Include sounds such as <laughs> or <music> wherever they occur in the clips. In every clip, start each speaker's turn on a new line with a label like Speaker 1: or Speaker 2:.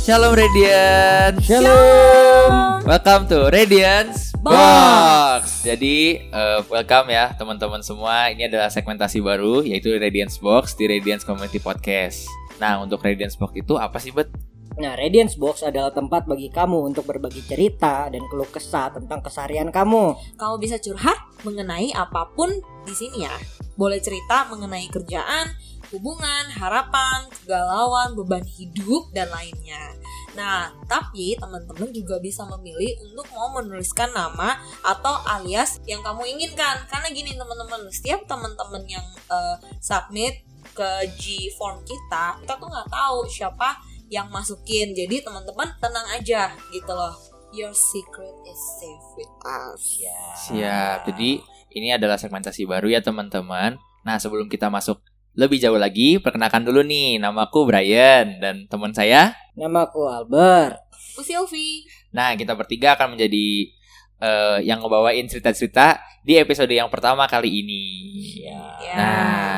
Speaker 1: Shalom Radiance.
Speaker 2: Shalom.
Speaker 1: Welcome to Radiance Box.
Speaker 2: Box.
Speaker 1: Jadi eh, welcome ya teman-teman semua. Ini adalah segmentasi baru yaitu Radiance Box di Radiance Community Podcast. Nah, untuk Radiance Box itu apa sih, Bet?
Speaker 2: Nah, Radiance Box adalah tempat bagi kamu untuk berbagi cerita dan keluh kesah tentang keseharian kamu.
Speaker 3: kamu bisa curhat mengenai apapun di sini ya. Boleh cerita mengenai kerjaan, hubungan, harapan, kegalauan, beban hidup, dan lainnya. Nah, tapi teman-teman juga bisa memilih untuk mau menuliskan nama atau alias yang kamu inginkan. Karena gini teman-teman, setiap teman-teman yang eh, submit ke G form kita, kita tuh nggak tahu siapa yang masukin. Jadi teman-teman tenang aja gitu loh. Your secret is safe with us.
Speaker 2: Ya.
Speaker 1: Siap. Jadi ini adalah segmentasi baru ya teman-teman. Nah, sebelum kita masuk lebih jauh lagi, perkenalkan dulu nih, namaku Brian dan teman saya
Speaker 2: Namaku Albert.
Speaker 3: Bu Silvi.
Speaker 1: Nah, kita bertiga akan menjadi eh, yang ngebawain cerita-cerita di episode yang pertama kali ini.
Speaker 3: Ya.
Speaker 1: Nah,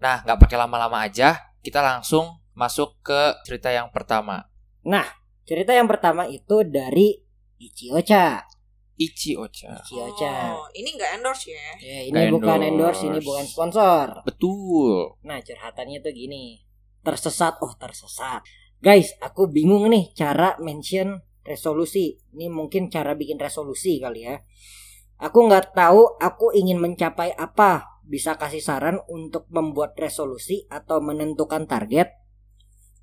Speaker 1: nah nggak pakai lama-lama aja, kita langsung masuk ke cerita yang pertama.
Speaker 2: Cerita yang pertama itu dari Ichiocha.
Speaker 1: Ichi Ocha.
Speaker 2: Ichiocha.
Speaker 3: Oh, ini nggak endorse ya?
Speaker 2: Ya, ini bukan endorse, ini
Speaker 1: Endorse.
Speaker 2: bukan sponsor.
Speaker 1: Betul.
Speaker 2: Nah, curhatannya tuh gini. Tersesat, oh tersesat. Guys, aku bingung nih cara mention resolusi. Ini mungkin cara bikin resolusi kali ya. Aku nggak tahu aku ingin mencapai apa. Bisa kasih saran untuk membuat resolusi atau menentukan target?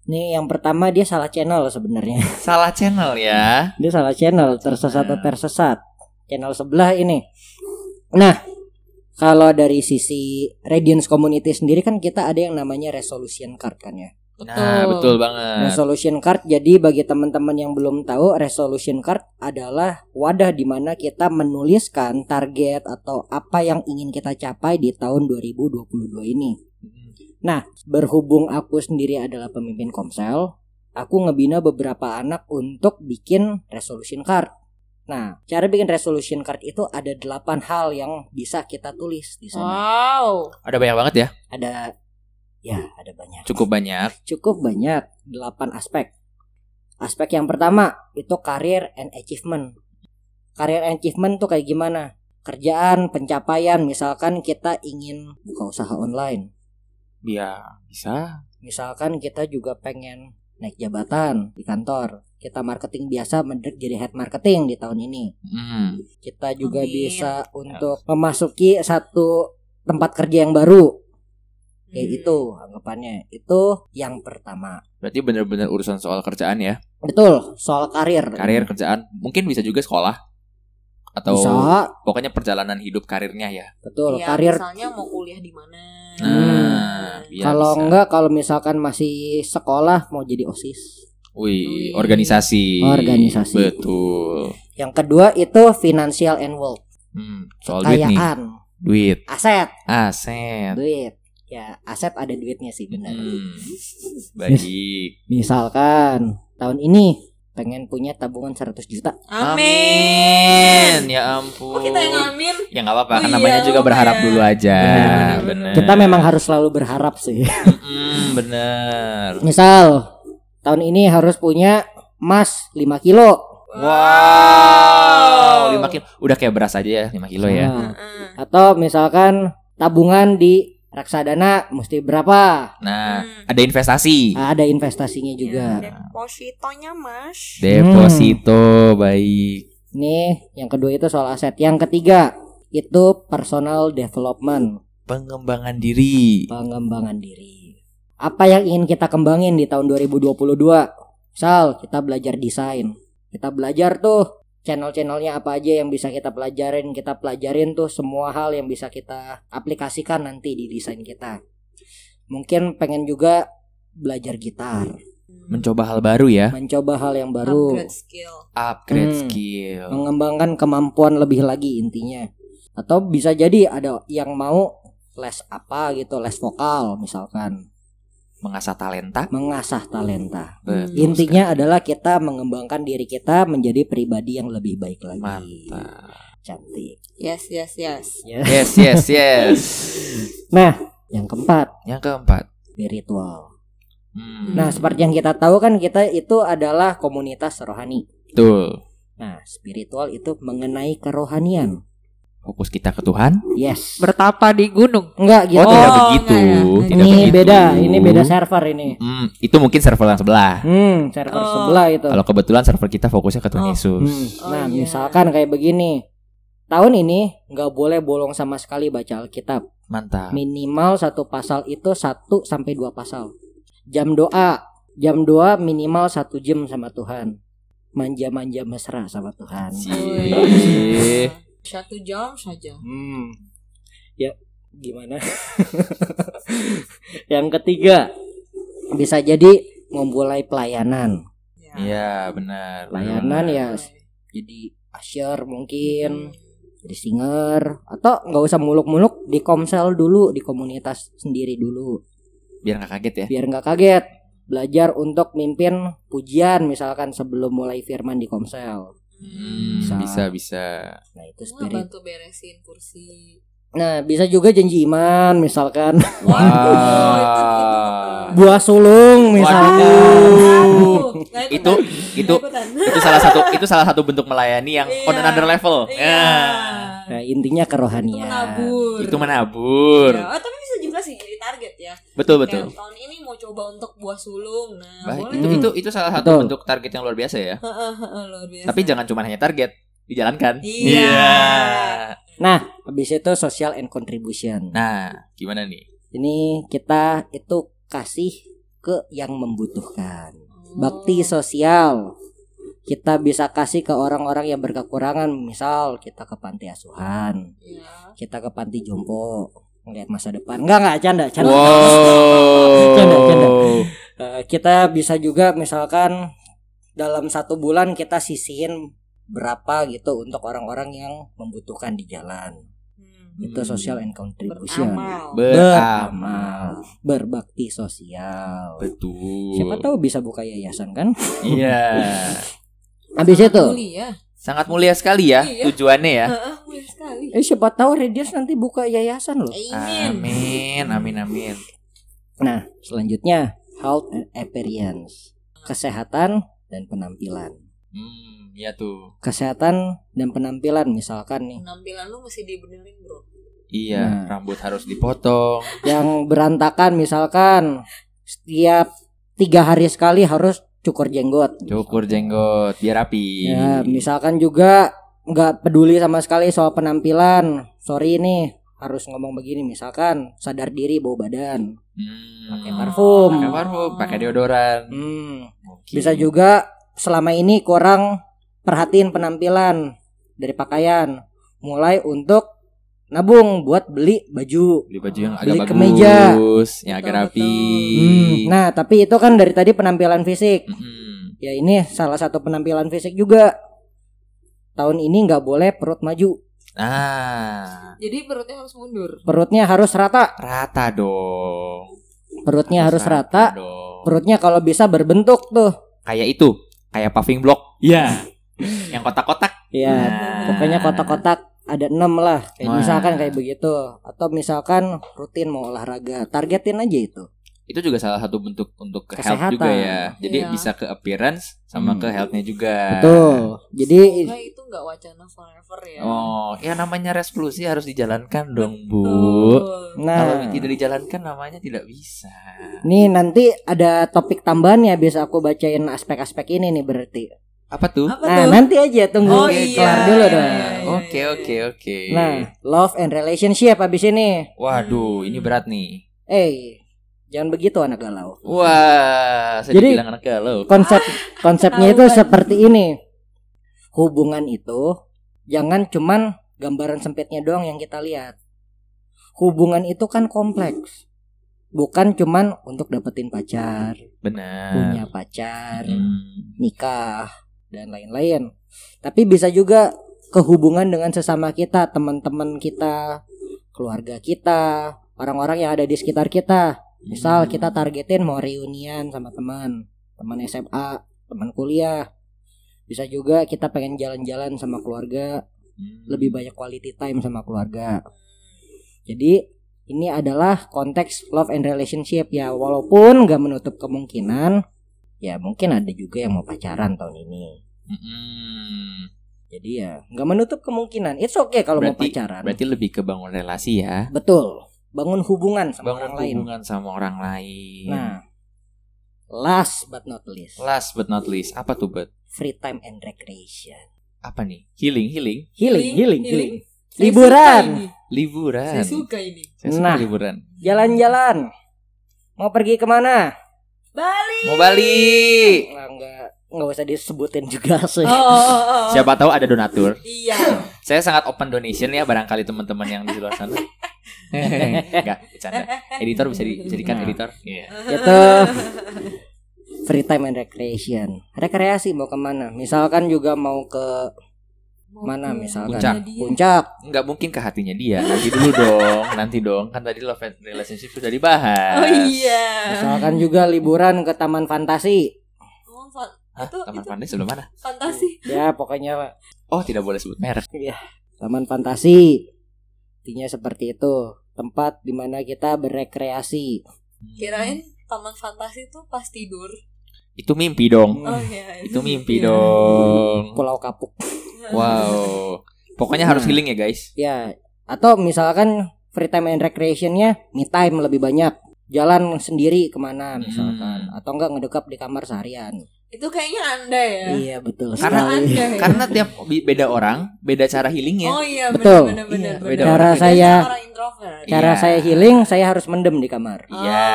Speaker 2: Nih, yang pertama dia salah channel sebenarnya.
Speaker 1: Salah channel ya.
Speaker 2: Dia salah channel, tersesat atau tersesat. Channel sebelah ini. Nah, kalau dari sisi Radiance Community sendiri kan kita ada yang namanya resolution card kan ya.
Speaker 1: Nah, betul banget.
Speaker 2: Resolution card jadi bagi teman-teman yang belum tahu resolution card adalah wadah di mana kita menuliskan target atau apa yang ingin kita capai di tahun 2022 ini.
Speaker 1: Hmm.
Speaker 2: Berhubung aku sendiri adalah pemimpin Komsel, aku ngebina beberapa anak untuk bikin resolution card. Nah, cara bikin resolution card itu ada 8 hal yang bisa kita tulis di
Speaker 3: Oh.
Speaker 2: sana.
Speaker 3: Wow.
Speaker 1: Ada banyak banget ya.
Speaker 2: Ada ya, ada banyak.
Speaker 1: Cukup banyak.
Speaker 2: cukup banyak 8 aspek. Aspek yang pertama itu karir and achievement. Karir and achievement tuh kayak gimana? Kerjaan, pencapaian, misalkan kita ingin buka usaha online.
Speaker 1: Ya, bisa.
Speaker 2: Misalkan kita juga pengen naik jabatan di kantor. Kita marketing biasa mendek jadi head marketing di tahun ini.
Speaker 1: Hmm.
Speaker 2: Kita juga
Speaker 3: Amin.
Speaker 2: bisa untuk memasuki satu tempat kerja yang baru. Kayak
Speaker 3: Hmm.
Speaker 2: gitu anggapannya. Itu yang pertama.
Speaker 1: Berarti benar-benar urusan soal kerjaan ya.
Speaker 2: Betul, soal karir.
Speaker 1: Karir, kerjaan. Mungkin bisa juga sekolah. Atau
Speaker 2: Bisa,
Speaker 1: pokoknya perjalanan hidup karirnya ya.
Speaker 2: betul.
Speaker 3: Ya,
Speaker 2: karir
Speaker 3: Misalnya mau kuliah di mana?
Speaker 1: Nah,
Speaker 3: Hmm.
Speaker 1: iya
Speaker 2: kalau
Speaker 1: bisa.
Speaker 2: enggak kalau misalkan masih sekolah mau jadi OSIS.
Speaker 1: Wih,
Speaker 3: Wih.
Speaker 1: organisasi.
Speaker 2: Organisasi.
Speaker 1: Betul.
Speaker 2: Yang kedua itu financial and wealth,
Speaker 1: Hmm, soal duit nih.
Speaker 2: kekayaan,
Speaker 1: Duit,
Speaker 2: aset,
Speaker 1: aset.
Speaker 2: duit. Ya, aset ada duitnya sih benar.
Speaker 1: Hmm. Baik.
Speaker 2: Misalkan tahun ini pengen punya tabungan 100 juta.
Speaker 3: Amin.
Speaker 1: Ya ampun.
Speaker 3: Kok Oh, kita yang amin?
Speaker 1: Ya nggak apa-apa, kan
Speaker 3: Oh,
Speaker 1: namanya
Speaker 3: iya,
Speaker 1: juga
Speaker 3: lupa
Speaker 1: berharap
Speaker 3: ya.
Speaker 1: dulu aja.
Speaker 2: Bener,
Speaker 1: Bener.
Speaker 2: Kita memang harus selalu berharap sih. <laughs>
Speaker 1: Mm, bener.
Speaker 2: Misal tahun ini harus punya emas 5 kilo
Speaker 1: Wow, 5 kilo. Udah kayak beras aja ya, 5 kilo ya.
Speaker 2: Nah,
Speaker 3: Heeh.
Speaker 2: atau misalkan tabungan di reksadana mesti berapa? Nah,
Speaker 1: Nah,
Speaker 3: Hmm.
Speaker 1: ada investasi.
Speaker 2: ada investasinya juga.
Speaker 3: Ya, Depositonya mas.
Speaker 1: Deposito baik.
Speaker 2: Nih, yang kedua itu soal aset. Yang ketiga itu personal development,
Speaker 1: Pengembangan diri.
Speaker 2: pengembangan diri. Apa yang ingin kita kembangin di tahun 2022? Misal kita belajar desain. Kita belajar tuh channel-channelnya apa aja yang bisa kita pelajarin. Kita pelajarin tuh semua hal yang bisa kita aplikasikan nanti di desain kita. Mungkin pengen juga belajar gitar,
Speaker 1: Mencoba hal baru ya.
Speaker 2: mencoba hal yang baru.
Speaker 3: Hmm, Upgrade skill.
Speaker 1: upgrade
Speaker 2: Hmm.
Speaker 1: skill.
Speaker 2: mengembangkan kemampuan lebih lagi intinya atau bisa jadi ada yang mau les apa gitu les vokal misalkan
Speaker 1: mengasah talenta.
Speaker 2: mengasah talenta
Speaker 1: Betul
Speaker 3: Iya,
Speaker 2: intinya adalah kita mengembangkan diri kita menjadi pribadi yang lebih baik lagi
Speaker 1: sekali. mantap.
Speaker 2: cantik.
Speaker 3: Yes, yes, yes.
Speaker 2: Ya.
Speaker 1: Yes, yes, yes.
Speaker 2: Nah, yang keempat,
Speaker 1: Yang keempat.
Speaker 2: spiritual.
Speaker 1: Hmm.
Speaker 2: Nah, seperti yang kita tahu kan kita itu adalah komunitas rohani.
Speaker 1: Betul.
Speaker 2: Nah, spiritual itu mengenai kerohanian.
Speaker 1: Fokus kita ke Tuhan.
Speaker 2: Yes.
Speaker 3: Bertapa di gunung.
Speaker 2: Enggak gitu.
Speaker 1: Oh, tidak
Speaker 3: Oh,
Speaker 1: begitu.
Speaker 3: enggak ya.
Speaker 1: Tidak
Speaker 2: ini
Speaker 1: begitu.
Speaker 2: beda, ini beda server ini.
Speaker 1: Hmm, itu mungkin server yang sebelah.
Speaker 2: Hmm, server
Speaker 3: Oh.
Speaker 2: sebelah itu.
Speaker 1: Kalau kebetulan server kita fokusnya ke Tuhan
Speaker 3: Oh.
Speaker 1: Yesus.
Speaker 2: Hmm,
Speaker 3: Oh,
Speaker 2: Nah,
Speaker 3: iya.
Speaker 2: misalkan kayak begini. Tahun ini nggak boleh bolong sama sekali baca Alkitab.
Speaker 1: Mantap.
Speaker 2: Iya. Minimal satu pasal itu 1 sampai dua pasal. Jam doa, jam doa minimal satu jam sama Tuhan. Manja-manja mesra sama Tuhan.
Speaker 1: Cie.
Speaker 3: Satu jam saja.
Speaker 2: Hmm. Ya, gimana? <laughs> Yang ketiga, bisa jadi memulai pelayanan.
Speaker 3: Ya.
Speaker 1: Iya, benar.
Speaker 2: Layanan ya jadi usher mungkin jadi singer atau nggak usah muluk-muluk di komsel dulu di komunitas sendiri dulu
Speaker 1: Biar nggak kaget ya.
Speaker 2: biar nggak kaget belajar untuk mimpin pujian misalkan sebelum mulai firman di komsel
Speaker 1: Hmm,
Speaker 2: Bisa.
Speaker 1: bisa bisa.
Speaker 2: nah itu
Speaker 3: Terus
Speaker 2: spirit
Speaker 3: bantu beresin kursi.
Speaker 2: nah bisa juga janji iman misalkan <laughs>
Speaker 3: gitu.
Speaker 1: Wah.
Speaker 2: buah sulung misalkan
Speaker 3: <laughs>
Speaker 1: Waduh.
Speaker 3: Aduh, nggak
Speaker 1: Itu
Speaker 3: ikutan.
Speaker 1: itu
Speaker 3: Nggak ikutan.
Speaker 1: itu salah satu itu salah satu bentuk melayani yang on
Speaker 3: Iya.
Speaker 1: another level.
Speaker 3: Iya.
Speaker 2: nah intinya
Speaker 3: Itu
Speaker 2: kerohanian
Speaker 3: menabur.
Speaker 1: Ya. Itu menabur.
Speaker 3: Ya, oh, tapi bisa juga sih jadi target ya.
Speaker 1: Betul
Speaker 3: Kayak
Speaker 1: betul.
Speaker 3: tahun ini mau coba untuk buah sulung. Nah,
Speaker 1: Baik,
Speaker 3: boleh Iya.
Speaker 1: itu,
Speaker 3: tuh.
Speaker 1: itu itu salah satu
Speaker 2: Betul.
Speaker 1: bentuk target yang luar biasa ya.
Speaker 3: Heeh, heeh, luar biasa.
Speaker 1: Tapi jangan cuma hanya target, dijalankan.
Speaker 3: Iya.
Speaker 2: Nah, habis itu social and contribution
Speaker 1: Nah, gimana nih?
Speaker 2: ini kita itu kasih ke yang membutuhkan
Speaker 3: Oh.
Speaker 2: bakti sosial kita bisa kasih ke orang-orang yang berkekurangan misal kita ke panti asuhan
Speaker 3: Iya.
Speaker 2: kita ke panti jompo melihat masa depan enggak enggak canda canda Canda, canda.
Speaker 1: Wow.
Speaker 2: <laughs> Eh, kita bisa juga misalkan dalam satu bulan kita sisihin berapa gitu untuk orang-orang yang membutuhkan di jalan
Speaker 3: Hmm.
Speaker 2: itu
Speaker 1: Hmm.
Speaker 2: social and contribution
Speaker 1: ah,
Speaker 3: Beramal.
Speaker 1: Beramal.
Speaker 2: berbakti sosial
Speaker 1: Betul.
Speaker 2: siapa tahu bisa buka yayasan kan <laughs>
Speaker 1: Iya.
Speaker 2: habis
Speaker 3: Sangat
Speaker 2: itu
Speaker 3: mulia.
Speaker 1: Sangat mulia sekali ya
Speaker 3: Iya.
Speaker 1: tujuannya ya.
Speaker 3: Heeh, mulia sekali.
Speaker 2: eh siapa tahu Radius nanti buka yayasan loh
Speaker 3: Amin.
Speaker 1: Amin, amin, amin.
Speaker 2: Nah, selanjutnya health and appearance. Kesehatan dan penampilan.
Speaker 1: Hmm, ya tuh.
Speaker 2: Kesehatan dan penampilan misalkan nih
Speaker 3: Penampilan lu mesti dibenerin, Bro.
Speaker 2: Nah.
Speaker 1: Iya, rambut harus dipotong.
Speaker 2: yang berantakan misalkan setiap tiga hari sekali harus cukur jenggot.
Speaker 1: Cukur jenggot biar rapi.
Speaker 2: Ya, misalkan juga nggak peduli sama sekali soal penampilan. Sorry nih harus ngomong begini misalkan sadar diri bau badan.
Speaker 1: Hmm.
Speaker 2: Pakai parfum.
Speaker 1: Pakai parfum, pakai deodoran.
Speaker 2: Hmm,
Speaker 1: Mungkin.
Speaker 2: Bisa juga selama ini kurang perhatiin penampilan dari pakaian, mulai untuk nabung buat beli baju.
Speaker 1: beli baju yang agak
Speaker 2: Beli
Speaker 1: bagus,
Speaker 2: kemeja.
Speaker 1: yang agak
Speaker 3: Betul,
Speaker 1: rapi.
Speaker 2: Hmm, Nah, tapi itu kan dari tadi penampilan fisik.
Speaker 1: Mm-mm.
Speaker 2: Ya ini salah satu penampilan fisik juga. Tahun ini nggak boleh perut maju,
Speaker 1: Nah,
Speaker 3: Jadi perutnya harus mundur.
Speaker 2: perutnya harus rata,
Speaker 1: rata dong.
Speaker 2: perutnya harus rata,
Speaker 1: dong.
Speaker 2: perutnya kalau bisa berbentuk tuh.
Speaker 1: Kayak itu, kayak paving block. Iya. yang kotak-kotak.
Speaker 2: Ya,
Speaker 1: Nah.
Speaker 2: pokoknya kotak-kotak ada enam lah. Kayak
Speaker 1: Wah.
Speaker 2: misalkan kayak begitu, atau misalkan rutin mau olahraga, targetin aja itu.
Speaker 1: Itu juga salah satu bentuk untuk ke
Speaker 2: Kesehatan.
Speaker 1: health juga ya. Jadi
Speaker 3: Iya.
Speaker 1: bisa ke appearance sama ke
Speaker 2: Hmm.
Speaker 1: healthnya juga.
Speaker 2: Betul. Jadi
Speaker 3: Nah, itu nggak wacana forever ya.
Speaker 1: Oh, ya namanya resolusi harus dijalankan dong, Bu.
Speaker 3: Betul.
Speaker 1: Kalau
Speaker 2: nah
Speaker 1: tidak dijalankan namanya tidak bisa.
Speaker 2: nih nanti ada topik tambahan ya bisa aku bacain aspek-aspek ini nih berarti.
Speaker 1: Apa tuh?
Speaker 3: Apa
Speaker 2: Nah,
Speaker 3: tuh?
Speaker 2: nanti aja tunggu
Speaker 3: Oh,
Speaker 2: kelar
Speaker 3: iya,
Speaker 2: dulu
Speaker 3: iya,
Speaker 2: dong.
Speaker 3: iya, iya.
Speaker 1: Oke, oke, oke.
Speaker 2: Nah, love and relationship habis ini.
Speaker 1: Waduh,
Speaker 3: Hmm.
Speaker 1: ini berat nih.
Speaker 2: Eh, jangan begitu anak galau.
Speaker 1: Wah, saya
Speaker 2: Jadi-
Speaker 1: dibilang anak galau.
Speaker 2: Konsep konsepnya itu
Speaker 3: ketahuan.
Speaker 2: seperti ini. Hubungan itu jangan cuman gambaran sempitnya doang yang kita lihat. Hubungan itu kan kompleks. Bukan cuman untuk dapetin pacar,
Speaker 1: Benar.
Speaker 2: punya pacar,
Speaker 1: Hmm.
Speaker 2: nikah dan lain-lain. Tapi bisa juga kehubungan dengan sesama kita, teman-teman kita, keluarga kita, orang-orang yang ada di sekitar
Speaker 1: Hmm.
Speaker 2: kita. Misal kita targetin mau reunian sama teman, teman SMA, teman kuliah. Bisa juga kita pengen jalan-jalan sama keluarga,
Speaker 1: Hmm.
Speaker 2: lebih banyak quality time sama keluarga. Jadi ini adalah konteks love and relationship ya walaupun nggak menutup kemungkinan ya mungkin ada juga yang mau pacaran tahun ini.
Speaker 1: Mm-mm.
Speaker 2: Jadi ya nggak menutup kemungkinan. It's okay kalau mau
Speaker 1: Berarti-
Speaker 2: pacaran.
Speaker 1: Berarti lebih ke bangun relasi ya.
Speaker 2: Betul. Bangun hubungan sama
Speaker 1: Bangun
Speaker 2: orang lain.
Speaker 1: hubungan iya. sama orang lain.
Speaker 2: Nah, last but not least,
Speaker 1: Last but not least, apa tuh bet?
Speaker 2: free time and recreation.
Speaker 1: Apa nih? Healing, healing,
Speaker 2: Healing, healing,
Speaker 3: Healing,
Speaker 2: healing.
Speaker 3: Saya
Speaker 2: Liburan.
Speaker 3: suka ini,
Speaker 1: liburan.
Speaker 3: Saya
Speaker 2: Kan.
Speaker 3: suka ini.
Speaker 1: Saya suka
Speaker 2: Nah.
Speaker 1: liburan.
Speaker 2: Jalan-jalan. Mau pergi kemana?
Speaker 3: Bali.
Speaker 1: Mau Bali.
Speaker 2: Nah, nggak nggak usah disebutin juga <laughs> sih.
Speaker 3: Oh, oh, oh, oh.
Speaker 1: Siapa tahu ada donatur.
Speaker 3: Iya.
Speaker 1: Saya sangat open donation ya barangkali teman-teman yang di luar
Speaker 3: <laughs>
Speaker 1: sana. Enggak, bercanda. Editor bisa dijadikan
Speaker 3: Nah.
Speaker 1: editor. Iya.
Speaker 2: Gitu. Free time and recreation. Rekreasi mau kemana? Misalkan juga mau ke mana
Speaker 3: Mau ke
Speaker 2: misalkan?
Speaker 1: Puncak.
Speaker 3: Dia.
Speaker 2: Puncak.
Speaker 1: Nggak mungkin ke hatinya dia. Nanti dulu dong, nanti dong. Kan tadi love and relationship sudah dibahas.
Speaker 3: Oh iya.
Speaker 2: Misalkan juga liburan ke taman fantasi.
Speaker 3: Oh, fa-
Speaker 1: Hah,
Speaker 3: Itu-
Speaker 1: Taman
Speaker 3: itu.
Speaker 1: Pandai sebelum mana?
Speaker 3: fantasi.
Speaker 2: Ya pokoknya
Speaker 1: Oh, tidak boleh sebut merek.
Speaker 2: Taman fantasi. Intinya seperti itu. Tempat dimana kita berekreasi.
Speaker 3: Kirain taman fantasi tuh pas tidur.
Speaker 1: Itu mimpi dong.
Speaker 3: Oh
Speaker 1: Hmm.
Speaker 3: iya. Nah,
Speaker 1: Itu mimpi
Speaker 3: iya.
Speaker 1: dong.
Speaker 2: Pulau Kapuk.
Speaker 1: Wow. Pokoknya
Speaker 3: Nah.
Speaker 1: harus healing ya, guys.
Speaker 2: Ya, atau misalkan free time and recreationnya me time lebih banyak. Jalan sendiri kemana misalkan, atau enggak ngedekap di kamar seharian.
Speaker 3: Itu kayaknya Anda ya.
Speaker 2: Iya betul.
Speaker 3: Karena
Speaker 2: sekali.
Speaker 3: Anda ya.
Speaker 1: Karena tiap bi- beda orang, beda cara healingnya.
Speaker 3: Oh iya
Speaker 2: Betul.
Speaker 3: benar benar benar.
Speaker 1: Iya,
Speaker 3: benar.
Speaker 1: beda
Speaker 2: Cara
Speaker 3: Bedanya
Speaker 2: saya-
Speaker 3: orang introvert.
Speaker 2: cara
Speaker 1: Iya.
Speaker 2: saya healing, saya harus mendem di kamar.
Speaker 3: Oh,
Speaker 1: Iya.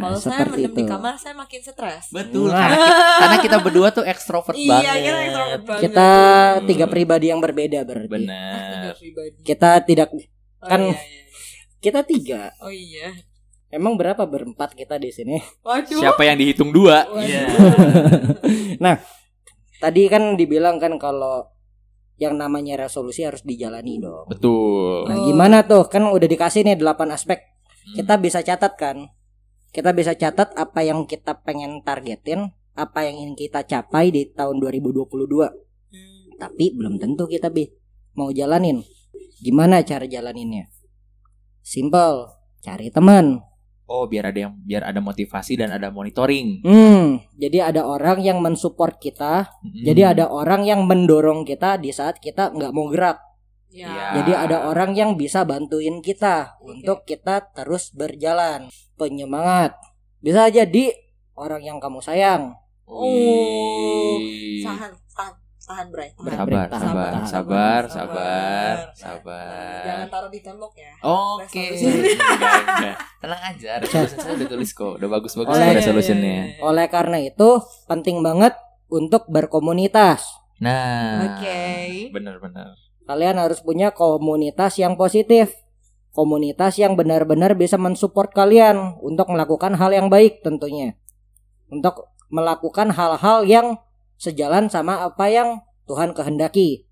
Speaker 3: Kalau saya
Speaker 2: seperti
Speaker 3: mendem di
Speaker 2: itu.
Speaker 3: kamar saya makin stres.
Speaker 1: Betul.
Speaker 2: Nah.
Speaker 1: Karena kita, karena kita berdua tuh ekstrovert
Speaker 3: Iya,
Speaker 1: banget.
Speaker 3: kita introvert banget.
Speaker 2: Kita tiga pribadi yang berbeda berarti.
Speaker 3: Tiga
Speaker 1: Benar.
Speaker 3: pribadi.
Speaker 2: Kita tidak
Speaker 3: Oh,
Speaker 2: kan-
Speaker 3: iya, iya.
Speaker 2: kita tiga.
Speaker 3: Oh iya.
Speaker 2: Emang berapa berempat kita di sini?
Speaker 3: Waduh.
Speaker 1: Siapa yang dihitung dua?
Speaker 3: Waduh.
Speaker 2: Tadi kan dibilang kan kalau yang namanya resolusi harus dijalani dong.
Speaker 1: Betul.
Speaker 2: Nah,
Speaker 3: Oh.
Speaker 2: gimana tuh? Kan udah dikasih nih 8 aspek. Kita bisa catat kan? Kita bisa catat apa yang kita pengen targetin, apa yang ingin kita capai di tahun 2022.
Speaker 3: Hmm.
Speaker 2: Tapi belum tentu kita bi mau jalanin. Gimana cara jalaninnya? Simple, cari teman.
Speaker 1: Oh, biar ada yang biar ada motivasi dan ada monitoring.
Speaker 2: Hmm, jadi ada orang yang mensupport kita,
Speaker 1: Mm.
Speaker 2: jadi ada orang yang mendorong kita di saat kita nggak mau gerak.
Speaker 1: Iya.
Speaker 3: Ya.
Speaker 2: Jadi ada orang yang bisa bantuin kita
Speaker 3: Oke.
Speaker 2: untuk kita terus berjalan. Penyemangat. Bisa jadi orang yang kamu sayang.
Speaker 1: Wih.
Speaker 3: Tahan, tahan, tahan Bray. Tahan.
Speaker 2: Berapa?
Speaker 1: Sabar,
Speaker 2: Tahan,
Speaker 1: sabar,
Speaker 2: tahan.
Speaker 1: sabar, sabar,
Speaker 3: Sabar.
Speaker 1: sabar.
Speaker 3: Jangan taruh di tembok ya.
Speaker 1: Oke.
Speaker 3: Resolusi.
Speaker 1: Enggak, enggak. Tenang aja, resolution saya udah tulis kok. Udah bagus-bagus
Speaker 2: Oh,
Speaker 1: kok
Speaker 2: iya, iya,
Speaker 1: resolutionnya.
Speaker 3: Oke.
Speaker 2: Oleh karena itu penting banget untuk berkomunitas.
Speaker 1: Nah. Benar-benar.
Speaker 2: Kalian harus punya komunitas yang positif. Komunitas yang benar-benar bisa mensupport kalian untuk melakukan hal yang baik tentunya. Untuk melakukan hal-hal yang sejalan sama apa yang Tuhan kehendaki.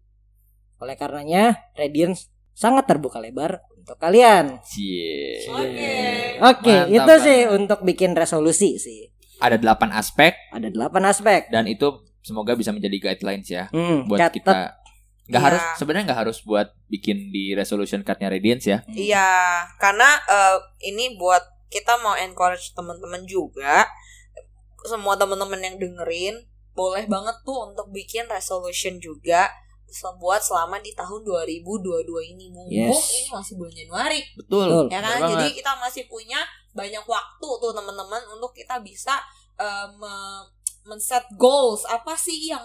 Speaker 2: Oleh karenanya, Radiance sangat terbuka lebar untuk kalian.
Speaker 1: Cie.
Speaker 3: Oke.
Speaker 2: Oke,
Speaker 1: Mantap
Speaker 2: itu sih
Speaker 1: banget.
Speaker 2: untuk bikin resolusi sih.
Speaker 1: Ada 8 aspek
Speaker 2: Ada 8 aspek.
Speaker 1: dan itu semoga bisa menjadi guidelines ya
Speaker 2: Hmm,
Speaker 1: buat
Speaker 2: catat.
Speaker 1: kita. Nggak
Speaker 4: Iya.
Speaker 1: harus sebenarnya nggak harus buat bikin di resolution cardnya Radiance ya.
Speaker 4: Iya, karena eh, ini buat kita mau encourage teman-teman juga. Semua teman-teman yang dengerin
Speaker 3: Boleh banget tuh untuk bikin resolution juga se- buat selama di tahun 2022 ini mumpung
Speaker 2: Yes.
Speaker 3: ini masih bulan Januari
Speaker 1: Betul.
Speaker 2: Betul.
Speaker 3: ya kan jadi kita masih punya banyak waktu tuh teman-teman untuk kita bisa eh, me- men-set goals apa sih yang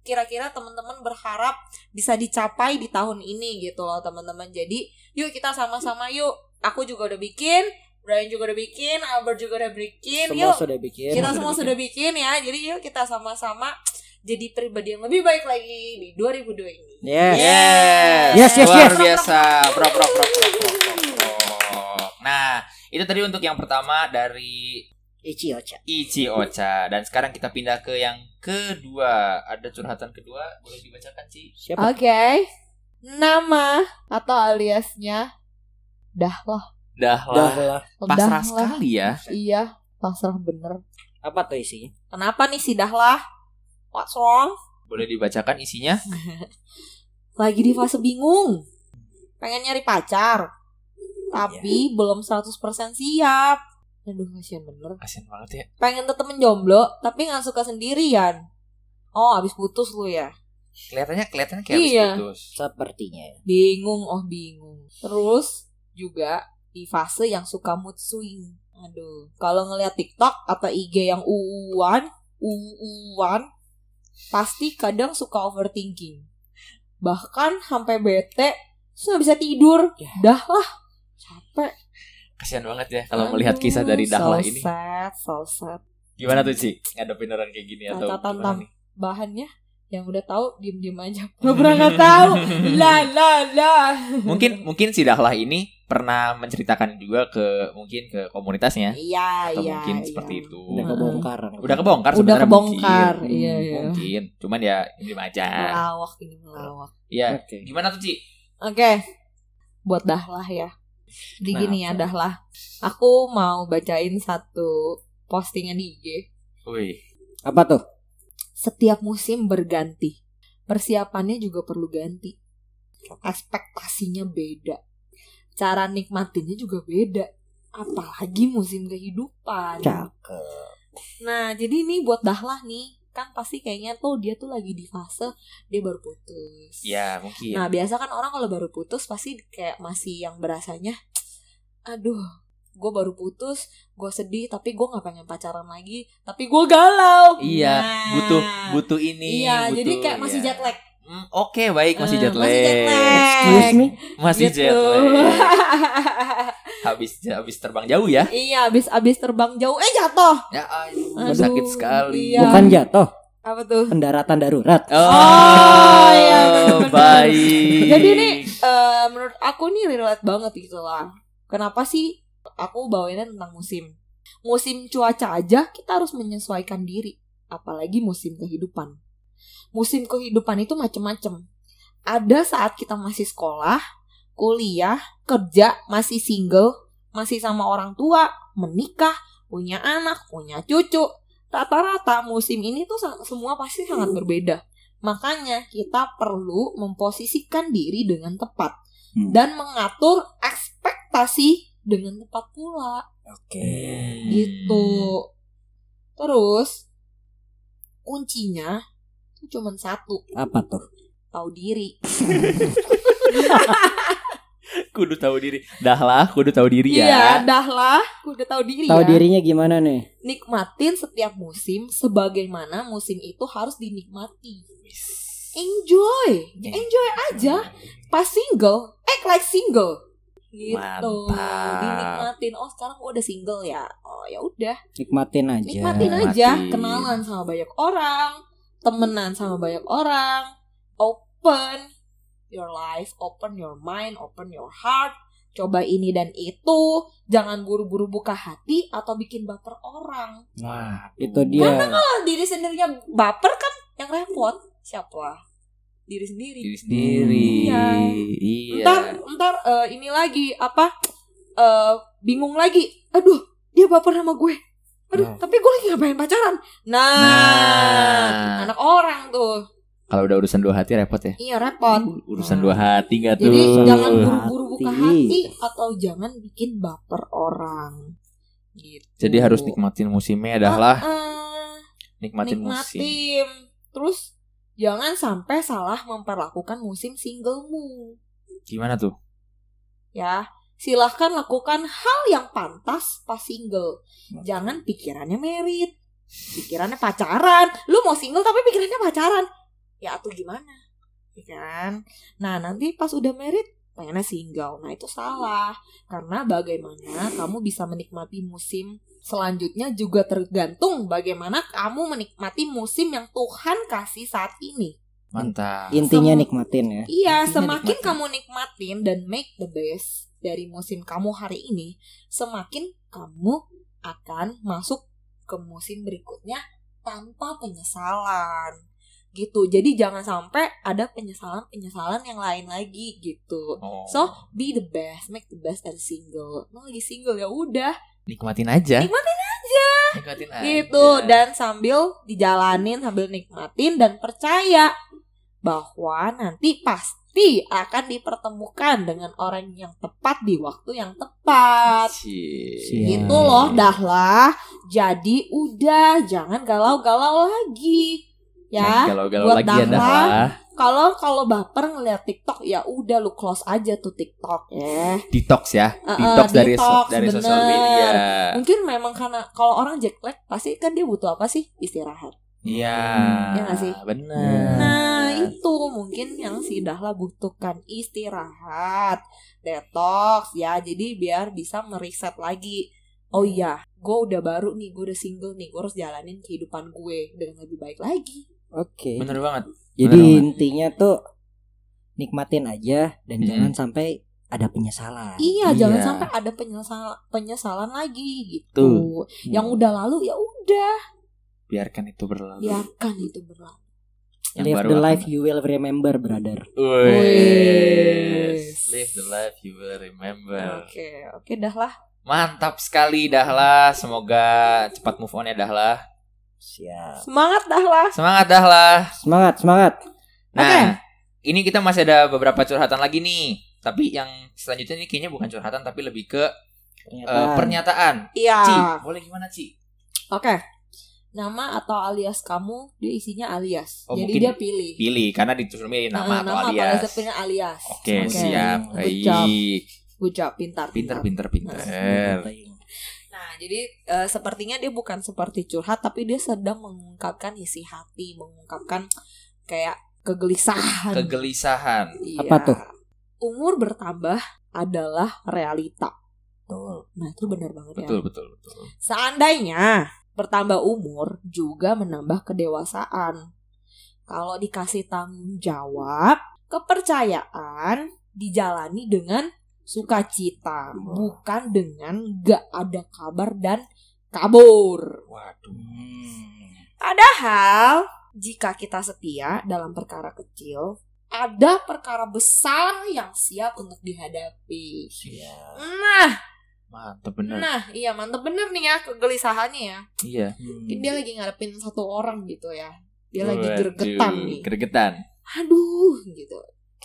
Speaker 3: kira-kira teman-teman berharap bisa dicapai di tahun ini gitu loh teman-teman jadi yuk kita sama-sama yuk aku juga udah bikin Brian juga udah bikin Albert juga udah bikin
Speaker 2: Semua
Speaker 3: yuk
Speaker 2: sudah bikin.
Speaker 3: kita semua sudah bikin ya jadi yuk kita sama-sama jadi pribadi yang lebih baik lagi di 2002 ini
Speaker 2: Yes.
Speaker 1: Yes.
Speaker 2: Yes, yes,
Speaker 1: Luar
Speaker 2: yes.
Speaker 1: biasa. Pro pro pro pro pro pro. pro. Nah, itu tadi untuk yang pertama dari
Speaker 2: Ichi Ocha.
Speaker 1: Ichi Ocha dan sekarang kita pindah ke yang kedua. Ada curhatan kedua boleh dibacakan sih.
Speaker 2: Siapa?
Speaker 5: Oke. Nama atau aliasnya Dahlah.
Speaker 1: Dahlah.
Speaker 2: Dahlah.
Speaker 1: Pasrah
Speaker 5: Dahlah.
Speaker 1: sekali ya.
Speaker 5: Iya, pasrah bener.
Speaker 2: Apa tuh isinya?
Speaker 3: kenapa nih si Dahlah what's wrong
Speaker 1: Boleh dibacakan isinya?
Speaker 3: lagi di fase bingung pengen nyari pacar tapi
Speaker 1: Iya.
Speaker 3: belum 100% siap aduh kasihan bener
Speaker 1: Kasian banget ya.
Speaker 3: pengen tetap menjomblo tapi nggak suka sendirian oh abis putus lu ya
Speaker 1: Kelihatannya kelihatannya kayak habis
Speaker 3: Iya.
Speaker 1: putus.
Speaker 2: Sepertinya.
Speaker 3: bingung oh bingung terus juga di fase yang suka mood swing aduh kalau ngelihat TikTok atau IG yang uuan uuan pasti kadang suka overthinking bahkan sampai bete terus nggak bisa tidur
Speaker 1: Ya.
Speaker 3: dah lah capek
Speaker 1: Kasian banget ya kalau melihat kisah dari Dahlah
Speaker 3: so
Speaker 1: ini.
Speaker 3: sad, so sad.
Speaker 1: Gimana tuh sih ngadepin orang kayak gini atau
Speaker 3: Catatan
Speaker 1: gimana
Speaker 3: tam- <laughs>
Speaker 1: nih?
Speaker 3: bahannya yang udah tahu diem diem aja nggak pernah nggak
Speaker 1: <laughs>
Speaker 3: tahu lah lah lah
Speaker 1: Mungkin mungkin si Dahlah ini pernah menceritakan juga ke mungkin ke komunitasnya
Speaker 3: iya
Speaker 1: atau
Speaker 3: iya
Speaker 1: mungkin
Speaker 3: iya.
Speaker 1: seperti itu. Nah,
Speaker 2: Udah kebongkar.
Speaker 1: Hmm. Udah kebongkar
Speaker 3: Udah
Speaker 1: sebenarnya
Speaker 3: kebongkar,
Speaker 1: mungkin.
Speaker 3: iya, iya.
Speaker 1: Mungkin, cuman ya diem aja.
Speaker 3: melawak ini melawak
Speaker 1: Iya.
Speaker 2: Oke.
Speaker 1: Gimana tuh, Ci?
Speaker 3: oke buat dahlah ya di
Speaker 1: Nah,
Speaker 3: gini ya
Speaker 1: Kenapa?
Speaker 3: dahlah aku mau bacain satu postingan di IG
Speaker 1: Wih,
Speaker 2: Apa tuh?
Speaker 3: setiap musim berganti persiapannya juga perlu ganti ekspektasinya beda cara nikmatinnya juga beda apalagi musim kehidupan
Speaker 2: Cakep.
Speaker 3: Nah, jadi ini buat Dahlah nih. Kan pasti kayaknya tuh dia tuh lagi di fase dia baru putus.
Speaker 1: ya mungkin.
Speaker 3: Nah, biasa kan orang kalau baru putus pasti kayak masih yang berasanya aduh, gue baru putus, gue sedih, tapi gue nggak pengen pacaran lagi, tapi gue galau.
Speaker 1: Iya,
Speaker 3: Nah,
Speaker 1: butuh butuh ini.
Speaker 3: Iya, jadi
Speaker 1: butuh-
Speaker 3: kayak masih
Speaker 1: iya.
Speaker 3: jet lag.
Speaker 1: Hmm, Oke, baik masih
Speaker 3: Eh,
Speaker 1: jet lag.
Speaker 3: masih jet
Speaker 2: Excuse me.
Speaker 1: Masih
Speaker 3: Gitu.
Speaker 1: jet lag. iya. Habis habis terbang jauh ya.
Speaker 3: <laughs> iya, abis abis terbang jauh, eh jatuh.
Speaker 1: Ya aduh,
Speaker 3: Aduh,
Speaker 1: sakit sekali.
Speaker 3: iya.
Speaker 2: Bukan jatuh,
Speaker 3: Apa tuh?
Speaker 2: pendaratan darurat.
Speaker 1: Oh,
Speaker 3: Oh, iya, benar-benar.
Speaker 1: baik.
Speaker 3: Jadi ini eh, menurut aku nih relate banget gitu lah. Kenapa sih aku bawainnya tentang musim? Musim cuaca aja kita harus menyesuaikan diri, apalagi musim kehidupan. Musim kehidupan itu macem-macem. Ada saat kita masih sekolah, kuliah, kerja, masih single, masih sama orang tua, menikah, punya anak, punya cucu. Rata-rata musim ini tuh sa- semua pasti sangat berbeda. Makanya kita perlu memposisikan diri dengan tepat
Speaker 2: Hmm.
Speaker 3: dan mengatur ekspektasi dengan tepat pula
Speaker 2: Hmm. Oke.
Speaker 1: Hmm.
Speaker 3: gitu. Terus kuncinya itu cuma satu,
Speaker 2: Apa tuh?
Speaker 3: tahu diri.
Speaker 1: Kudu tahu diri. Dahlah, kudu tahu diri ya.
Speaker 3: Iya, dah lah, aku udah tahu
Speaker 2: Iya.
Speaker 3: diri
Speaker 2: Tahu
Speaker 3: ya.
Speaker 2: dirinya gimana nih?
Speaker 3: Nikmatin setiap musim sebagaimana musim itu harus dinikmati. Enjoy, enjoy aja. pas single act like single gitu
Speaker 1: Mantap.
Speaker 3: dinikmatin oh sekarang gue udah single ya oh ya udah
Speaker 2: Nikmatin aja.
Speaker 3: nikmatin
Speaker 1: Ya, nikmatin.
Speaker 3: aja kenalan sama banyak orang temenan sama banyak orang open your life open your mind open your heart coba ini dan itu jangan buru-buru buka hati atau bikin baper orang
Speaker 1: Wah,
Speaker 2: Itu dia.
Speaker 3: kalau diri sendirinya baper kan yang repot siapa diri sendiri
Speaker 1: diri sendiri.
Speaker 3: Iya.
Speaker 1: Iya.
Speaker 3: ntar ntar eh, ini lagi apa eh, bingung lagi aduh dia baper sama gue aduh
Speaker 1: Nah.
Speaker 3: tapi gue lagi ngapain pacaran nah,
Speaker 1: Nah.
Speaker 3: anak orang tuh
Speaker 1: Kalau udah urusan dua hati repot ya.
Speaker 3: iya repot
Speaker 1: Urusan dua hati gak tuh?
Speaker 3: Ah. jadi jangan
Speaker 2: Hati.
Speaker 3: buru-buru buka hati atau jangan bikin baper orang gitu
Speaker 1: Jadi harus nikmatin musimnya dahlah,
Speaker 3: Ah,
Speaker 1: nikmatin, musim.
Speaker 3: nikmatin. terus jangan sampai salah memperlakukan musim singlemu
Speaker 1: Gimana tuh?
Speaker 3: ya silahkan lakukan hal yang pantas pas single jangan pikirannya merit pikirannya pacaran lu mau single tapi pikirannya pacaran ya atau gimana ya kan nah nanti pas udah merit pengennya single nah itu salah karena bagaimana kamu bisa menikmati musim selanjutnya juga tergantung bagaimana kamu menikmati musim yang Tuhan kasih saat ini
Speaker 1: Mantap.
Speaker 2: Intinya
Speaker 3: Sem-
Speaker 2: nikmatin ya.
Speaker 3: Iya,
Speaker 1: Intinya
Speaker 3: semakin
Speaker 1: nikmatin.
Speaker 3: kamu nikmatin dan make the best dari musim kamu hari ini, semakin kamu akan masuk ke musim berikutnya tanpa penyesalan. Gitu. Jadi jangan sampai ada penyesalan-penyesalan yang lain lagi gitu.
Speaker 1: Oh.
Speaker 3: So, Be the best, make the best dari single. Emang lagi single ya udah
Speaker 1: nikmatin aja.
Speaker 3: Nikmatin
Speaker 1: aja. Nikmatin aja.
Speaker 3: gitu dan sambil dijalanin sambil nikmatin dan percaya bahwa nanti pasti pasti akan dipertemukan dengan orang yang tepat di waktu yang tepat.
Speaker 1: Cie.
Speaker 2: Cie.
Speaker 3: Gitu loh, dah lah. Jadi udah, jangan galau-galau lagi. Ya,
Speaker 1: Galau-galau
Speaker 3: buat
Speaker 1: lagi ya dah
Speaker 3: Dahlan.
Speaker 1: lah.
Speaker 3: kalau kalau baper ngeliat TikTok ya udah lu close aja tuh TikTok ya.
Speaker 1: Detox ya.
Speaker 3: Uh-uh,
Speaker 1: Detox dari
Speaker 3: detox,
Speaker 1: dari sosial
Speaker 3: bener.
Speaker 1: media.
Speaker 3: Mungkin memang karena kalau orang jet lag pasti kan dia butuh apa sih? Istirahat.
Speaker 1: Iya.
Speaker 3: Iya nggak sih?
Speaker 1: Benar.
Speaker 3: Nah, itu mungkin yang si Dahla butuhkan istirahat, detox ya. Jadi biar bisa mereset lagi. Oh iya, gue udah baru nih, gue udah single nih, gue harus jalanin kehidupan gue dengan lebih baik lagi.
Speaker 2: Oke.
Speaker 1: Bener banget.
Speaker 2: Jadi
Speaker 1: bener banget.
Speaker 2: intinya tuh nikmatin aja dan
Speaker 1: Mm-mm.
Speaker 2: jangan sampai ada penyesalan.
Speaker 1: Iya.
Speaker 3: Iya, jangan sampai ada penyesalan penyesalan lagi gitu.
Speaker 1: Tuh.
Speaker 3: Yang udah Iya. lalu ya udah,
Speaker 1: Biarkan itu berlalu.
Speaker 3: biarkan itu berlalu.
Speaker 1: Yang
Speaker 2: Live
Speaker 1: baru
Speaker 2: the
Speaker 1: akan
Speaker 2: life you will remember, brother.
Speaker 1: Wes.
Speaker 3: Wes.
Speaker 1: Live the life you will remember.
Speaker 3: Oke, oke Dahla.
Speaker 1: Mantap sekali Dahlah. Semoga cepat move on ya Dahlah.
Speaker 2: Siap.
Speaker 3: Semangat Dahla.
Speaker 1: Semangat Dahlah.
Speaker 2: Semangat, semangat.
Speaker 1: Nah,
Speaker 3: Oke.
Speaker 1: ini kita masih ada beberapa curhatan lagi nih. Tapi yang selanjutnya ini kayaknya bukan curhatan tapi lebih ke eh,
Speaker 2: Pernyataan.
Speaker 1: pernyataan.
Speaker 3: Iya.
Speaker 1: Ci, boleh gimana Ci?
Speaker 3: Oke. Nama atau alias kamu, dia isinya alias.
Speaker 1: Oh,
Speaker 3: Jadi
Speaker 1: mungkin
Speaker 3: dia pilih.
Speaker 1: Pilih karena disuruh milih
Speaker 3: Eh,
Speaker 1: nama atau
Speaker 3: alias.
Speaker 1: alias.
Speaker 3: dia pilih alias.
Speaker 1: Oke,
Speaker 2: Oke.
Speaker 1: siap.
Speaker 3: Good job.
Speaker 1: Baik.
Speaker 3: Good job, pintar.
Speaker 1: Pinter, pinter, pinter.
Speaker 3: Nah, jadi eh, sepertinya dia bukan seperti curhat, tapi dia sedang mengungkapkan isi hati, mengungkapkan kayak kegelisahan.
Speaker 1: Kegelisahan.
Speaker 3: Iya.
Speaker 2: Apa tuh?
Speaker 3: Umur bertambah adalah realita.
Speaker 2: Betul.
Speaker 3: Nah, itu benar banget ya.
Speaker 1: Betul, betul, betul.
Speaker 3: Seandainya bertambah umur juga menambah kedewasaan. Kalau dikasih tanggung jawab, kepercayaan dijalani dengan sukacita, bukan dengan gak ada kabar dan kabur.
Speaker 1: Waduh.
Speaker 3: Padahal jika kita setia dalam perkara kecil, ada perkara besar yang siap untuk dihadapi.
Speaker 1: Siap.
Speaker 3: Nah,
Speaker 1: Mantap bener.
Speaker 3: nah, iya mantep bener nih ya kegelisahannya ya.
Speaker 1: Iya.
Speaker 3: Mungkin dia lagi ngadepin satu orang gitu ya. Dia lagi
Speaker 1: Waduh,
Speaker 3: gregetan nih.
Speaker 1: Gregetan.
Speaker 3: Aduh gitu.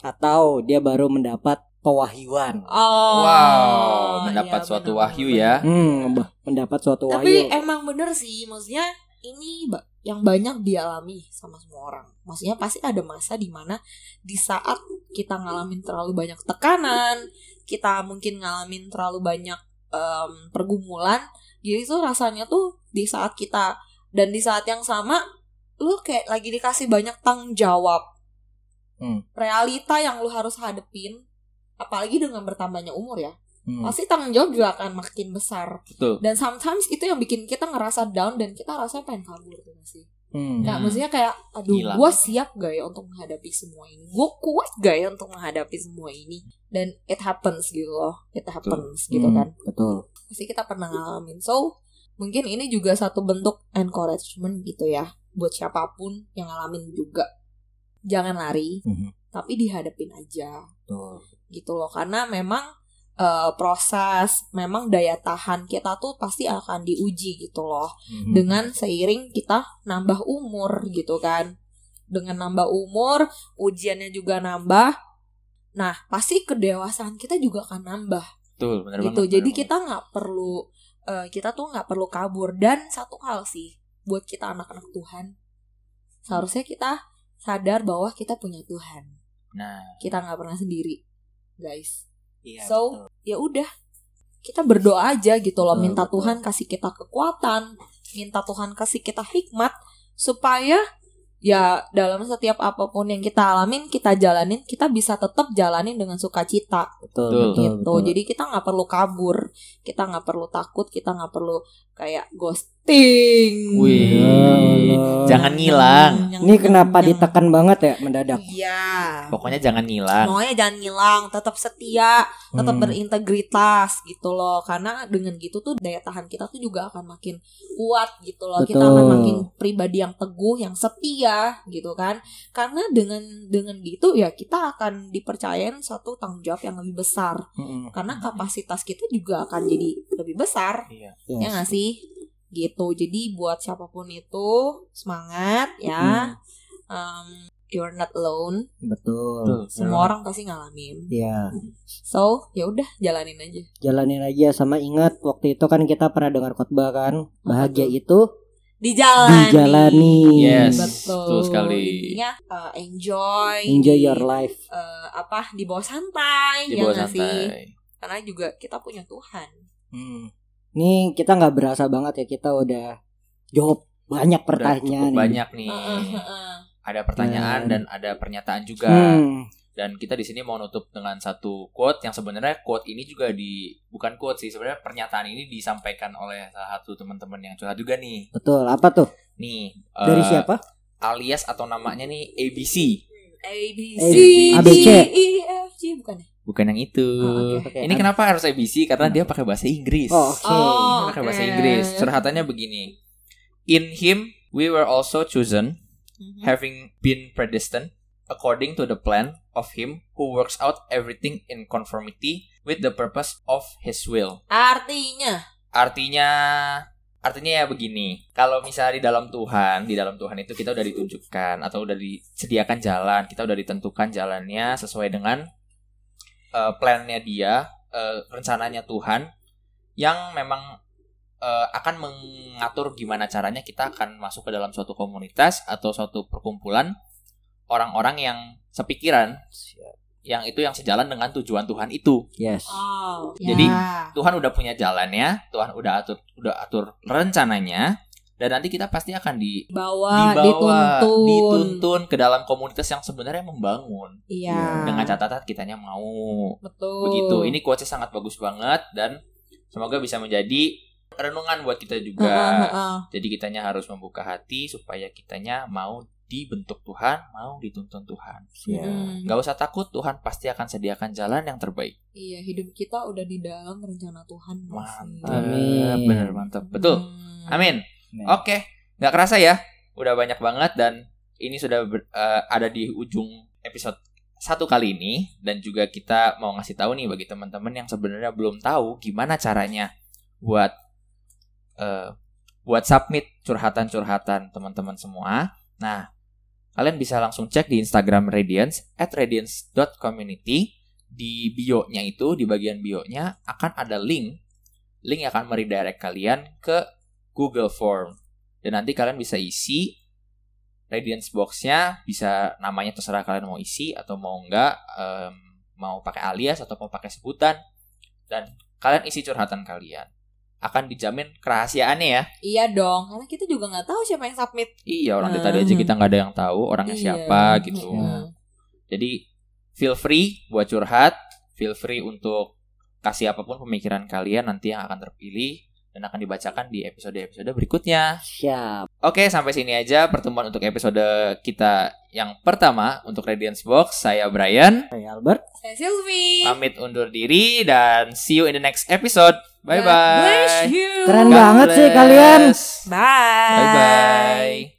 Speaker 2: Atau dia baru mendapat pewahyuan.
Speaker 3: Oh.
Speaker 1: Wow, mendapat
Speaker 3: iya,
Speaker 1: suatu
Speaker 3: benar,
Speaker 1: wahyu
Speaker 3: benar,
Speaker 1: ya.
Speaker 3: benar.
Speaker 2: Hmm, bah- mendapat suatu
Speaker 3: Tapi eh,
Speaker 2: wahyu.
Speaker 3: emang bener sih maksudnya ini ba- yang banyak dialami sama semua orang. Maksudnya pasti ada masa dimana di saat kita ngalamin terlalu banyak tekanan, kita mungkin ngalamin terlalu banyak em, pergumulan, jadi tuh rasanya tuh di saat kita dan di saat yang sama lu kayak lagi dikasih banyak tanggung jawab.
Speaker 2: Hmm.
Speaker 3: Realita yang lu harus hadepin, apalagi dengan bertambahnya umur ya,
Speaker 2: Hmm.
Speaker 3: pasti tanggung jawab juga akan makin besar.
Speaker 1: Betul.
Speaker 3: Dan sometimes itu yang bikin kita ngerasa down dan kita rasanya pengen kabur gitu nggak sih.
Speaker 2: Hmm.
Speaker 3: Nggak,
Speaker 1: Hmm.
Speaker 3: maksudnya kayak aduh
Speaker 1: Hilang.
Speaker 3: gue siap gak ya untuk menghadapi semua ini. Gue kuat gak ya untuk menghadapi semua ini. Dan it happens gitu loh. It happens gitu
Speaker 2: Hmm,
Speaker 3: kan.
Speaker 2: Betul.
Speaker 3: Pasti kita pernah ngalamin. So mungkin ini juga satu bentuk encouragement gitu ya. Buat siapapun yang ngalamin juga. Jangan lari.
Speaker 1: Hmm.
Speaker 2: Mhm.
Speaker 3: Tapi dihadapin aja
Speaker 2: Betul.
Speaker 3: gitu loh karena memang eh, proses memang daya tahan kita tuh pasti akan diuji gitu loh
Speaker 1: Hmm.
Speaker 2: Mhm.
Speaker 3: dengan seiring kita nambah umur gitu kan dengan nambah umur ujiannya juga nambah nah pasti kedewasaan kita juga akan nambah
Speaker 1: Betul, bener
Speaker 3: gitu
Speaker 1: banget.
Speaker 3: jadi
Speaker 1: bener
Speaker 3: kita nggak perlu eh, kita tuh nggak perlu kabur dan satu hal sih buat kita anak-anak Tuhan seharusnya kita sadar bahwa kita punya Tuhan
Speaker 1: banget. Nah,
Speaker 3: kita nggak pernah sendiri guys
Speaker 2: Iya,
Speaker 3: So ya udah kita berdoa aja gitu loh,
Speaker 2: Betul,
Speaker 3: minta
Speaker 2: betul.
Speaker 3: Tuhan kasih kita kekuatan, minta Tuhan kasih kita hikmat supaya ya dalam setiap apapun yang kita alamin kita jalanin kita bisa tetap jalanin dengan sukacita
Speaker 2: betul,
Speaker 1: Betul.
Speaker 2: betul,
Speaker 3: gitu.
Speaker 2: betul.
Speaker 3: Jadi kita nggak perlu kabur, kita nggak perlu takut, kita nggak perlu kayak ghosting.
Speaker 1: Wih, jangan ngilang.
Speaker 2: Ya ini kenapa ditekan banget ya mendadak?
Speaker 3: Iya.
Speaker 1: pokoknya jangan ngilang.
Speaker 3: Pokoknya jangan ngilang, tetap setia, tetap
Speaker 2: Hmm.
Speaker 3: berintegritas gitu loh. Karena dengan gitu tuh daya tahan kita tuh juga akan makin kuat gitu loh. Kita
Speaker 2: Betul.
Speaker 3: akan makin pribadi yang teguh, yang setia gitu kan. Karena dengan dengan gitu ya kita akan dipercayain satu tanggung jawab yang lebih besar.
Speaker 2: Mm-mm.
Speaker 3: Karena kapasitas kita juga akan jadi lebih besar.
Speaker 1: Iya.
Speaker 2: Yes.
Speaker 3: Ya gak sih?
Speaker 2: Hmm.
Speaker 3: Gitu. Jadi buat siapapun itu semangat ya. Em, ya. you're not alone.
Speaker 2: betul
Speaker 3: Semua orang pasti ngalamin.
Speaker 2: ya
Speaker 3: So, ya udah jalanin aja.
Speaker 2: jalanin aja sama ingat waktu itu kan kita pernah dengar khotbah kan bahagia itu
Speaker 3: Dijalani.
Speaker 2: dijalani
Speaker 1: Yes,
Speaker 5: Betul.
Speaker 1: betul sekali.
Speaker 3: Intinya uh, enjoy.
Speaker 2: enjoy your life
Speaker 3: Eh, apa di bawah santai
Speaker 1: Di
Speaker 3: ya
Speaker 1: bawah
Speaker 3: nggak sih?
Speaker 1: santai.
Speaker 3: Karena juga kita punya Tuhan.
Speaker 2: Hmm. Ini kita nggak berasa banget ya kita udah jawab banyak
Speaker 1: Udah cukup
Speaker 2: pertanyaan. nih.
Speaker 1: banyak nih.
Speaker 3: Heeh, heeh.
Speaker 1: Ada pertanyaan
Speaker 2: Dan-
Speaker 1: dan ada pernyataan juga.
Speaker 2: Hmm.
Speaker 1: Dan kita di sini mau nutup dengan satu quote yang sebenarnya quote ini juga di bukan quote sih, sebenarnya pernyataan ini disampaikan oleh salah satu teman-teman yang curhat juga nih.
Speaker 2: Betul. Apa tuh?
Speaker 1: Nih,
Speaker 2: Dari
Speaker 1: eh,
Speaker 2: siapa?
Speaker 1: Alias atau namanya nih ABC.
Speaker 3: A B
Speaker 2: A,
Speaker 3: C
Speaker 1: B,
Speaker 3: D
Speaker 2: ABC.
Speaker 3: E F G bukan ya?
Speaker 1: Bukan yang itu.
Speaker 3: Oh,
Speaker 2: oke.
Speaker 1: Ini kenapa harus ABC? Karena dia pakai bahasa Inggris.
Speaker 2: Oh, oke.
Speaker 3: Oh.
Speaker 1: Ini pakai bahasa
Speaker 3: oke.
Speaker 1: Inggris. Curhatannya begini. In him we were also chosen
Speaker 3: Mhm.
Speaker 1: having been predestined according to the plan of him who works out everything in conformity with the purpose of his will.
Speaker 3: Artinya
Speaker 1: Artinya artinya ya begini. Kalau misalnya di dalam Tuhan, di dalam Tuhan itu kita udah ditunjukkan atau udah disediakan jalan, kita udah ditentukan jalannya sesuai dengan eh, plannya dia, eh, rencananya Tuhan yang memang eh, akan mengatur gimana caranya kita akan masuk ke dalam suatu komunitas atau suatu perkumpulan orang-orang yang sepikiran yang itu yang sejalan dengan tujuan Tuhan itu.
Speaker 2: Yes.
Speaker 3: Wow.
Speaker 1: Jadi, Tuhan udah punya jalannya, Tuhan udah atur udah atur rencananya dan nanti kita pasti akan di
Speaker 3: Bawa,
Speaker 1: dibawa
Speaker 3: dituntun.
Speaker 1: dituntun ke dalam komunitas yang sebenarnya membangun
Speaker 3: Iya.
Speaker 1: dengan catatan kitanya mau.
Speaker 3: betul.
Speaker 1: Begitu. Ini quotes sangat bagus banget dan semoga bisa menjadi renungan buat kita juga.
Speaker 3: Heeh, heeh.
Speaker 1: Jadi kitanya harus membuka hati supaya kitanya mau dibentuk Tuhan, mau dituntun Tuhan.
Speaker 3: Hmm.
Speaker 1: Gak usah takut, Tuhan pasti akan sediakan jalan yang terbaik.
Speaker 3: Iya, hidup kita udah di dalam rencana Tuhan. nggak sih?
Speaker 1: Mantap.
Speaker 2: Amin.
Speaker 1: Bener mantap. Betul.
Speaker 3: Hmm.
Speaker 1: Amin.
Speaker 2: Amin.
Speaker 1: Oke, nggak kerasa ya. Udah banyak banget dan ini sudah ber- eh, ada di ujung episode satu kali ini dan juga kita mau ngasih tahu nih bagi teman-teman yang sebenarnya belum tahu gimana caranya buat eh, buat submit curhatan-curhatan teman-teman semua. Nah, kalian bisa langsung cek di Instagram Radiance at radiance.community di bio-nya itu di bagian bio-nya akan ada link link yang akan meredirect kalian ke Google Form. Dan nanti kalian bisa isi Radiance Box-nya, bisa namanya terserah kalian mau isi atau mau enggak, em, mau pakai alias atau mau pakai sebutan. Dan kalian isi curhatan kalian. Akan dijamin kerahasiaannya ya.
Speaker 3: Iya dong, karena kita juga nggak tahu siapa yang submit.
Speaker 1: Iya, orang dari tadi aja kita nggak ada yang tahu orangnya
Speaker 3: Iya.
Speaker 1: siapa gitu.
Speaker 3: Heeh.
Speaker 1: Jadi feel free buat curhat, feel free untuk kasih apapun pemikiran kalian nanti yang akan terpilih dan akan dibacakan di episode-episode berikutnya.
Speaker 2: Siap.
Speaker 1: Oke, sampai sini aja pertemuan untuk episode kita yang pertama untuk Radiance Box. Saya Brian,
Speaker 2: Saya Albert.
Speaker 3: Saya Sylvie.
Speaker 1: pamit undur diri dan see you in the next episode.
Speaker 3: God Bless
Speaker 1: Bye-bye.
Speaker 3: you.
Speaker 2: Keren banget sih kalian.
Speaker 1: Bye-bye.